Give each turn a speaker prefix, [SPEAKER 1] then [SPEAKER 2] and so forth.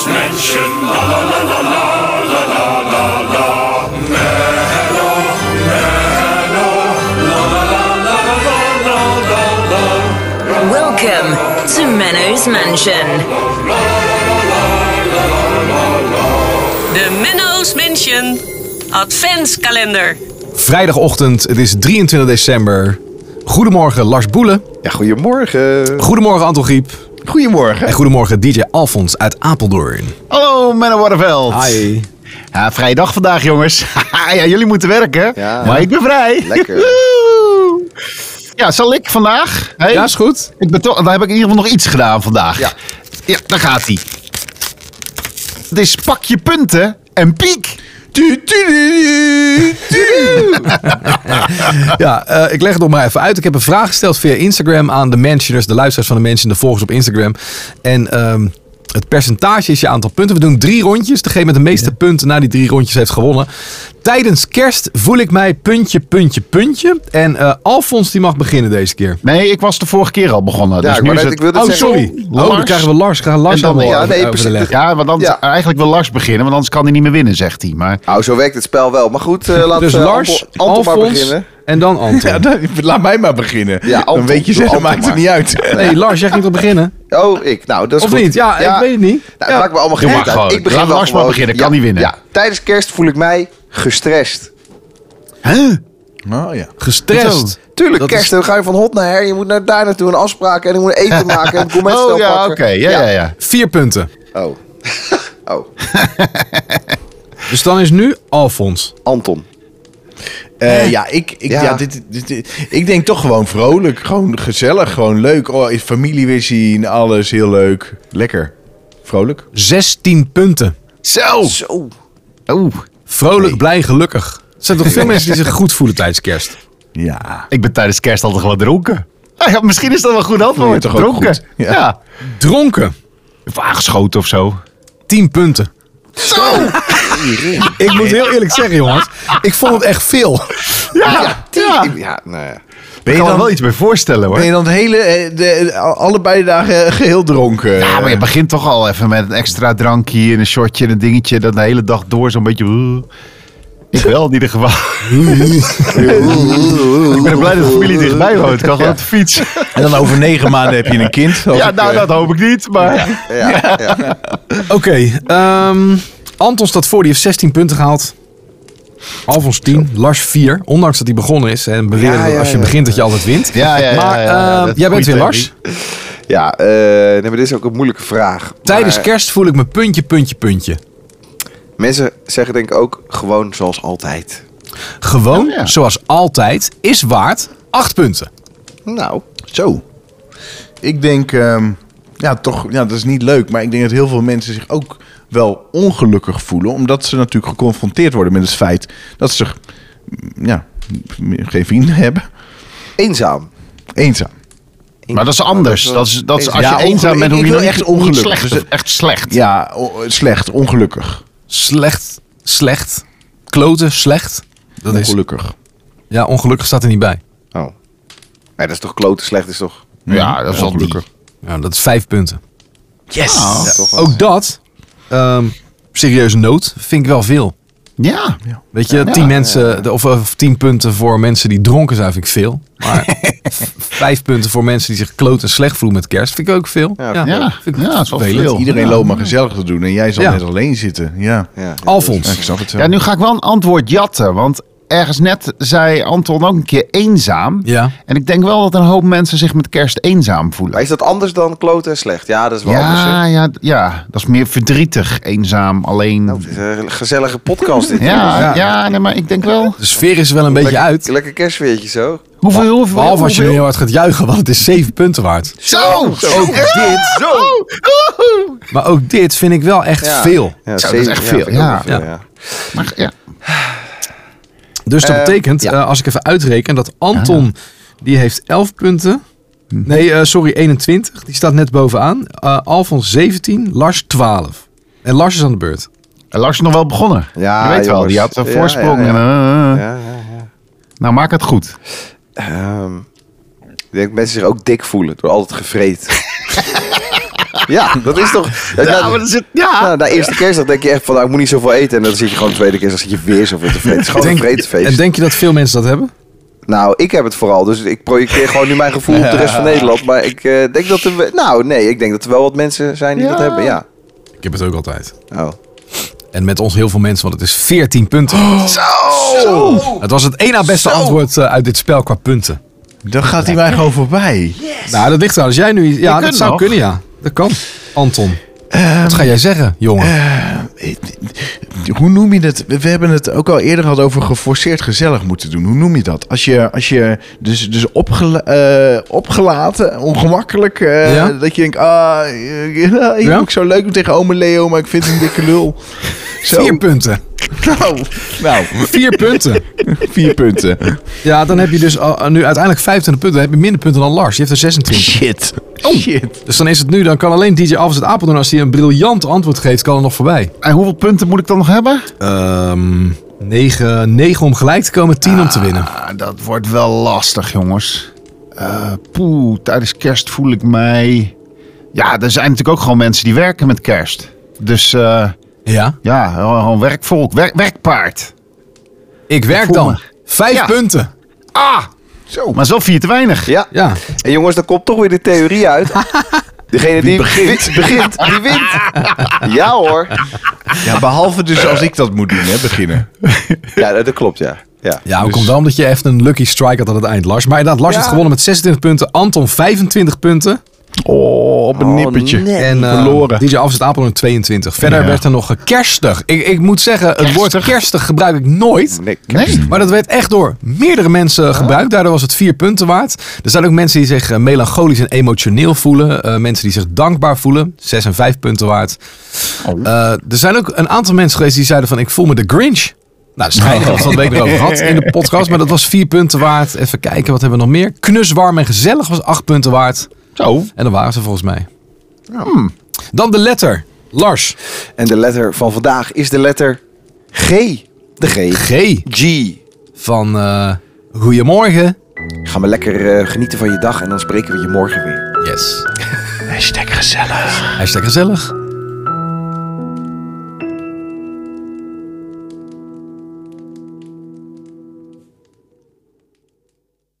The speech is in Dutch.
[SPEAKER 1] Station. La la la la la la la la la. Mello, mello. La la la la la la la la.
[SPEAKER 2] Welcome to Menno's Mansion.
[SPEAKER 3] De Menno's Mansion Adventskalender.
[SPEAKER 4] Vrijdagochtend, het is 23 december. Goedemorgen Lars Boelen.
[SPEAKER 5] Ja, goedemorgen.
[SPEAKER 4] Goedemorgen Anton Griep. En
[SPEAKER 5] Goedemorgen.
[SPEAKER 4] goedemorgen DJ Alfons uit Apeldoorn.
[SPEAKER 6] Hallo Menno Warreveld.
[SPEAKER 4] Hi.
[SPEAKER 6] Ja, vrije dag vandaag jongens. ja, jullie moeten werken,
[SPEAKER 5] Ja.
[SPEAKER 6] maar ik ben vrij.
[SPEAKER 5] Lekker.
[SPEAKER 6] Woehoe. ja, zal ik vandaag? Hey,
[SPEAKER 4] Ja, is goed.
[SPEAKER 6] ik ben toch, dan heb ik in ieder geval nog iets gedaan vandaag.
[SPEAKER 5] Ja.
[SPEAKER 6] Ja, daar gaat hij. Het is pak je punten en piek.
[SPEAKER 4] Ja, eh, ik leg het nog maar even uit. Ik heb een vraag gesteld via Instagram aan de Mansioners, de luisteraars van de Mansion, de volgers op Instagram. En ehm, het percentage is je aantal punten. We doen drie rondjes. Degene met de meeste punten na die drie rondjes heeft gewonnen. Tijdens kerst voel ik mij puntje, puntje, puntje. En eh, Alfons die mag beginnen deze keer.
[SPEAKER 6] Nee, ik was de vorige keer al begonnen.
[SPEAKER 5] Ja,
[SPEAKER 6] dus
[SPEAKER 5] ik
[SPEAKER 6] nu
[SPEAKER 5] wou
[SPEAKER 6] is
[SPEAKER 5] net-
[SPEAKER 6] het...
[SPEAKER 5] ik wilde
[SPEAKER 4] Oh,
[SPEAKER 5] zeggen,
[SPEAKER 4] sorry.
[SPEAKER 6] Lars.
[SPEAKER 4] Oh, dan krijgen we Lars. Gaan Lars eh,
[SPEAKER 5] En dan-
[SPEAKER 4] dan,
[SPEAKER 5] ja,
[SPEAKER 4] ja,
[SPEAKER 5] nee, precies.
[SPEAKER 4] overleggen.
[SPEAKER 6] Ja, want anders,
[SPEAKER 5] Ja.
[SPEAKER 6] eigenlijk wil Lars beginnen, want anders kan hij niet meer winnen, zegt hij. Maar
[SPEAKER 5] Nou, zo werkt het spel wel. Maar goed, eh laten
[SPEAKER 4] Dus
[SPEAKER 5] we
[SPEAKER 4] Lars,
[SPEAKER 5] Anton, Anton maar
[SPEAKER 4] Alfons
[SPEAKER 5] beginnen.
[SPEAKER 4] en dan Anton.
[SPEAKER 7] Laat mij maar beginnen.
[SPEAKER 5] Ja, Anton,
[SPEAKER 7] dan weet je
[SPEAKER 5] doe
[SPEAKER 7] zelf,
[SPEAKER 5] Anton
[SPEAKER 7] maakt het
[SPEAKER 5] maar.
[SPEAKER 7] niet uit.
[SPEAKER 4] Nee, Lars, jij ging toch beginnen?
[SPEAKER 5] Oh, ik. Nou, dat is
[SPEAKER 4] Of
[SPEAKER 5] goed.
[SPEAKER 4] niet? Ja, ik weet het niet.
[SPEAKER 5] Nou,
[SPEAKER 4] Ja.
[SPEAKER 5] maakt me allemaal geen
[SPEAKER 6] Doe maar
[SPEAKER 5] reet uit.
[SPEAKER 6] gewoon.
[SPEAKER 5] Ik begin
[SPEAKER 6] Laat
[SPEAKER 5] wel
[SPEAKER 6] Lars maar
[SPEAKER 5] gewoon.
[SPEAKER 6] beginnen,
[SPEAKER 5] Ja,
[SPEAKER 6] kan die winnen.
[SPEAKER 5] Ja. Tijdens kerst voel ik mij gestrest.
[SPEAKER 7] Oh ja.
[SPEAKER 4] Gestrest.
[SPEAKER 5] Tuurlijk,
[SPEAKER 4] Dat
[SPEAKER 5] kerst.
[SPEAKER 4] is-
[SPEAKER 5] Dan ga je van hot naar her. Je moet naar daar naartoe en afspraken. En ik moet eten maken. En ik
[SPEAKER 6] Oh ja, oké. Ja, ja, ja.
[SPEAKER 4] Vier punten.
[SPEAKER 5] Oh. oh.
[SPEAKER 4] Dus dan is nu Alfons.
[SPEAKER 5] Anton.
[SPEAKER 7] Eh, ja, ik, ik,
[SPEAKER 5] Ja.
[SPEAKER 7] ja. dit, dit, dit- ik denk toch gewoon vrolijk. Gewoon gezellig. Gewoon leuk. Oh, is familie weer zien. Alles heel leuk. Lekker. Vrolijk.
[SPEAKER 4] 16 punten.
[SPEAKER 6] Zo.
[SPEAKER 5] Zo.
[SPEAKER 6] Oeh,
[SPEAKER 4] Vrolijk, blij, gelukkig. Er zijn toch veel mensen die zich goed voelen tijdens kerst?
[SPEAKER 7] Ja.
[SPEAKER 6] ik ben tijdens kerst altijd gewoon dronken. Ah, ja, misschien is dat wel een goed
[SPEAKER 7] Voel je
[SPEAKER 6] antwoord.
[SPEAKER 7] toch ook
[SPEAKER 6] dronken.
[SPEAKER 7] goed? Ja.
[SPEAKER 6] ja.
[SPEAKER 4] Dronken.
[SPEAKER 6] Of aangeschoten of zo.
[SPEAKER 4] 10 punten. Ik moet heel eerlijk zeggen, jongens. Ik vond het echt veel.
[SPEAKER 6] Ja, ja.
[SPEAKER 5] Ik- Ja, nou ja.
[SPEAKER 7] Ben je,
[SPEAKER 6] kan me
[SPEAKER 7] dan,
[SPEAKER 6] wel iets bij voorstellen hoor.
[SPEAKER 7] ben je dan het hele, eh, de, allebei dagen geheel dronken?
[SPEAKER 6] ja, maar je begint toch al even met een extra drankje en een shotje en een dingetje. Dat de hele dag door zo'n beetje... Ik wel in ieder geval. ik ben blij dat de familie dichtbij woont. Ik kan gewoon op de fiets.
[SPEAKER 7] En dan over negen maanden heb je een kind. Als
[SPEAKER 6] Ja,
[SPEAKER 7] ik,
[SPEAKER 6] nou
[SPEAKER 7] eh,
[SPEAKER 6] dat hoop ik niet. Maar
[SPEAKER 5] Ja, ja.
[SPEAKER 4] Oké. ehm, Anton staat voor, die heeft 16 punten gehaald. Alfons 10, Lars 4. Ondanks dat hij begonnen is. En beweren
[SPEAKER 5] Ja,
[SPEAKER 4] dat
[SPEAKER 5] ja,
[SPEAKER 4] als je
[SPEAKER 5] ja.
[SPEAKER 4] begint dat je altijd wint.
[SPEAKER 6] Ja, ja, ja,
[SPEAKER 4] Maar
[SPEAKER 6] ja, ja,
[SPEAKER 4] ehm,
[SPEAKER 6] dat is
[SPEAKER 4] jij bent
[SPEAKER 6] goeie
[SPEAKER 4] weer
[SPEAKER 6] theorie.
[SPEAKER 4] Lars.
[SPEAKER 5] ja eh, nee, maar dit is ook een moeilijke vraag.
[SPEAKER 4] Tijdens
[SPEAKER 5] Maar
[SPEAKER 4] kerst voel ik me puntje, puntje, puntje.
[SPEAKER 5] Mensen zeggen denk ik ook gewoon zoals altijd.
[SPEAKER 4] Gewoon,
[SPEAKER 6] Oh, ja.
[SPEAKER 4] zoals altijd, is waard 8 punten.
[SPEAKER 5] Nou.
[SPEAKER 7] Zo. Ik denk, ehm, ja, toch, ja, dat is niet leuk. Maar ik denk dat heel veel mensen zich ook wel ongelukkig voelen. Omdat ze natuurlijk geconfronteerd worden met het feit dat ze mm, ja, m- geen vrienden hebben.
[SPEAKER 5] Eenzaam.
[SPEAKER 7] Eenzaam.
[SPEAKER 6] Maar dat is anders.
[SPEAKER 5] wel-
[SPEAKER 6] Dat is, dat is als
[SPEAKER 7] Ja,
[SPEAKER 6] je eenzaam
[SPEAKER 7] ongeluk-
[SPEAKER 6] bent, hoe
[SPEAKER 7] ik
[SPEAKER 6] je
[SPEAKER 7] wil
[SPEAKER 6] niet-
[SPEAKER 7] echt
[SPEAKER 6] niet
[SPEAKER 7] ongelukkig.
[SPEAKER 6] slecht
[SPEAKER 7] Dus
[SPEAKER 6] of
[SPEAKER 7] het-
[SPEAKER 6] echt slecht.
[SPEAKER 7] Ja, o- slecht, ongelukkig.
[SPEAKER 4] Slecht, slecht, kloten, slecht. Dat is,
[SPEAKER 7] ongelukkig.
[SPEAKER 4] ja, ongelukkig staat er niet bij.
[SPEAKER 5] Oh. Nee, dat is toch klote slecht, is toch?
[SPEAKER 6] Ja, dat is al die.
[SPEAKER 7] ongelukkig.
[SPEAKER 4] Ja, dat is 5 punten.
[SPEAKER 7] Yes!
[SPEAKER 5] Ja, toch wel.
[SPEAKER 4] Ook dat, ehm, serieuze nood, vind ik wel veel.
[SPEAKER 6] Ja.
[SPEAKER 4] Weet je, 10 mensen, de- of, of 10 punten voor mensen die dronken zijn, vind ik veel. Maar 5 punten voor mensen die zich kloten en slecht voelen met kerst, vind ik ook veel.
[SPEAKER 5] Ja,
[SPEAKER 6] Ja,
[SPEAKER 4] vind ik
[SPEAKER 6] ja, dat is wel
[SPEAKER 4] vervelend.
[SPEAKER 6] veel.
[SPEAKER 7] Iedereen
[SPEAKER 6] Ja.
[SPEAKER 7] loopt maar gezellig te doen en jij zal
[SPEAKER 4] Ja.
[SPEAKER 7] net alleen zitten. Ja.
[SPEAKER 5] Ja, ja.
[SPEAKER 7] Ja,
[SPEAKER 4] Alfons.
[SPEAKER 7] ik snap het wel.
[SPEAKER 6] Ja, nu ga ik wel een antwoord jatten. Want ergens net zei Anton ook een keer eenzaam.
[SPEAKER 4] Ja.
[SPEAKER 6] En ik denk wel dat een hoop mensen zich met kerst eenzaam voelen.
[SPEAKER 5] Maar is dat anders dan kloten en slecht? Ja, dat is wel anders. hè?
[SPEAKER 6] Ja, ja, ja, dat is meer verdrietig, eenzaam, alleen.
[SPEAKER 5] Nou, dit is een gezellige podcast dit.
[SPEAKER 6] ja, ja nee, maar ik denk wel.
[SPEAKER 4] De sfeer is er wel een beetje
[SPEAKER 5] lekker,
[SPEAKER 4] uit.
[SPEAKER 5] Lekker kerstfeertje zo.
[SPEAKER 6] Hoeveel, hoeveel,
[SPEAKER 4] Behalve als je
[SPEAKER 6] hoeveel-
[SPEAKER 4] heel hard gaat juichen, want het is 7 punten waard.
[SPEAKER 6] Zo! Zo! Oh.
[SPEAKER 4] Ook dit.
[SPEAKER 6] Zo! Woehoe!
[SPEAKER 4] Maar ook dit vind ik wel echt
[SPEAKER 5] Ja.
[SPEAKER 4] veel.
[SPEAKER 5] Ja,
[SPEAKER 6] Zo, dat is echt
[SPEAKER 5] zeven-
[SPEAKER 6] veel,
[SPEAKER 5] vind ik ook
[SPEAKER 6] ja.
[SPEAKER 5] wel
[SPEAKER 4] Ja.
[SPEAKER 6] Maar ja,
[SPEAKER 4] Dus dat
[SPEAKER 5] Eh,
[SPEAKER 4] betekent,
[SPEAKER 6] ja.
[SPEAKER 4] eh, als ik even uitreken, dat Anton,
[SPEAKER 6] Ah.
[SPEAKER 4] die heeft 11 punten.
[SPEAKER 6] Hm.
[SPEAKER 4] Nee, eh, sorry, 21. Die staat net bovenaan. Eh Alfons 17, Lars 12. En Lars is aan de beurt.
[SPEAKER 6] en Lars is nog wel begonnen.
[SPEAKER 5] Ja,
[SPEAKER 6] je weet wel,
[SPEAKER 5] jongens.
[SPEAKER 6] die had een
[SPEAKER 5] Ja, ja,
[SPEAKER 6] voorsprong.
[SPEAKER 5] ja.
[SPEAKER 6] en, eh, eh, eh.
[SPEAKER 5] Ja, ja, ja.
[SPEAKER 6] Nou, maak het goed.
[SPEAKER 5] Ehm, ik denk dat mensen zich ook dik voelen door altijd gevreed. Ja, dat is toch...
[SPEAKER 6] Ja, maar dat zit- ja.
[SPEAKER 5] Nou, na eerste kerstdag denk je echt van, nou, ik moet niet zoveel eten. En dan zit je gewoon tweede kerstdag, zit je weer zoveel te vreten. Het is gewoon een vreedfeest.
[SPEAKER 4] en denk je dat veel mensen dat hebben?
[SPEAKER 5] Nou, ik heb het vooral. Dus ik projecteer gewoon nu mijn gevoel op de rest van Nederland. Maar ik eh, denk dat er... we- Nou, nee, ik denk dat er wel wat mensen zijn die dat hebben, ja.
[SPEAKER 4] Ik heb het ook altijd.
[SPEAKER 5] Oh.
[SPEAKER 4] En met ons heel veel mensen, want het is 14 punten. Het was het één na beste antwoord eh, uit dit spel qua punten.
[SPEAKER 7] Dan gaat hij mij gewoon voorbij.
[SPEAKER 4] Nou, dat ligt eraan. Als jij nu... Ja, dat Ehm.
[SPEAKER 6] kunt
[SPEAKER 4] zou
[SPEAKER 6] nog.
[SPEAKER 4] kunnen, ja. Dat kan. Anton, wat ga jij zeggen, jongen?
[SPEAKER 7] Eh, Hoe noem je dat? We hebben het ook al eerder gehad over geforceerd gezellig moeten doen. Hoe noem je dat? Als je, als je dus, dus opgela- eh, opgelaten, ongemakkelijk. eh,
[SPEAKER 4] Ja.
[SPEAKER 7] Dat je denkt, ah, eh, ik
[SPEAKER 4] Ja?
[SPEAKER 7] ook zo leuk om tegen ome Leo, maar ik vind hem een dikke lul. Zo.
[SPEAKER 4] Vier punten.
[SPEAKER 7] nou, nou,
[SPEAKER 4] Vier punten.
[SPEAKER 7] vier punten.
[SPEAKER 4] Ja, dan heb je dus al- nu uiteindelijk 25 punten. Dan heb je minder punten dan Lars. Je heeft er 26.
[SPEAKER 7] Shit. Shit.
[SPEAKER 4] Dus dan is het nu, dan kan alleen DJ Alves het Apeldoorn... als hij een briljant antwoord geeft, kan er nog voorbij.
[SPEAKER 6] En hoeveel punten moet ik dan nog hebben?
[SPEAKER 4] Ehm 9, om gelijk te komen, 10 om te winnen.
[SPEAKER 6] Ah, dat wordt wel lastig, jongens. Eh, poeh, tijdens kerst voel ik mij... Ja, er zijn natuurlijk ook gewoon mensen die werken met kerst. Dus eh,
[SPEAKER 4] Ja,
[SPEAKER 6] ja, gewoon werkvolk, werk, werkpaard.
[SPEAKER 4] ik werk
[SPEAKER 6] voel
[SPEAKER 4] dan.
[SPEAKER 6] me.
[SPEAKER 4] Vijf
[SPEAKER 6] Ja.
[SPEAKER 4] punten.
[SPEAKER 6] Zo. Ah! Maar het is wel vier te weinig.
[SPEAKER 5] Ja.
[SPEAKER 4] Ja,
[SPEAKER 5] En jongens, dan komt toch weer de theorie uit. Degene die begint, begint die wint. Ja hoor.
[SPEAKER 7] Ja, behalve dus als ik dat moet doen, hè, beginnen.
[SPEAKER 5] Ja, dat dat klopt, ja. Ja.
[SPEAKER 4] ja ook komt dan omdat je even een lucky strike had aan het eind, Lars. Maar inderdaad, Lars heeft gewonnen met 26 punten. Anton 25 punten.
[SPEAKER 7] Oh, op een nippertje.
[SPEAKER 4] En eh
[SPEAKER 7] Verloren.
[SPEAKER 4] DJ Alves het Apeldoorn 22. Verder
[SPEAKER 6] Ja.
[SPEAKER 4] werd er nog eh, kerstig. Ik, ik moet zeggen, het woord kerstig gebruik ik nooit.
[SPEAKER 5] Nee,
[SPEAKER 6] Nee.
[SPEAKER 4] Maar dat werd echt door meerdere mensen gebruikt. Daardoor was het vier punten waard. Er zijn ook mensen die zich eh, melancholisch en emotioneel voelen. Eh, mensen die zich dankbaar voelen. Zes en vijf punten waard. Eh, er zijn ook een aantal mensen geweest die zeiden van ik voel me de Grinch. Nou, schijnig dat we het week erover gehad in de podcast. Maar dat was vier punten waard. Even kijken, wat hebben we nog meer? Knuswarm en gezellig was acht punten waard.
[SPEAKER 6] Zo.
[SPEAKER 4] En dan waren ze volgens mij. Hmm. Dan de letter. Lars.
[SPEAKER 5] En de letter van vandaag is de letter G. De G.
[SPEAKER 4] G.
[SPEAKER 5] G.
[SPEAKER 4] Van eh, Goedemorgen.
[SPEAKER 5] Ga maar lekker eh, genieten van je dag en dan spreken we je morgen weer.
[SPEAKER 4] Yes. Hashtag gezellig. Hashtag gezellig.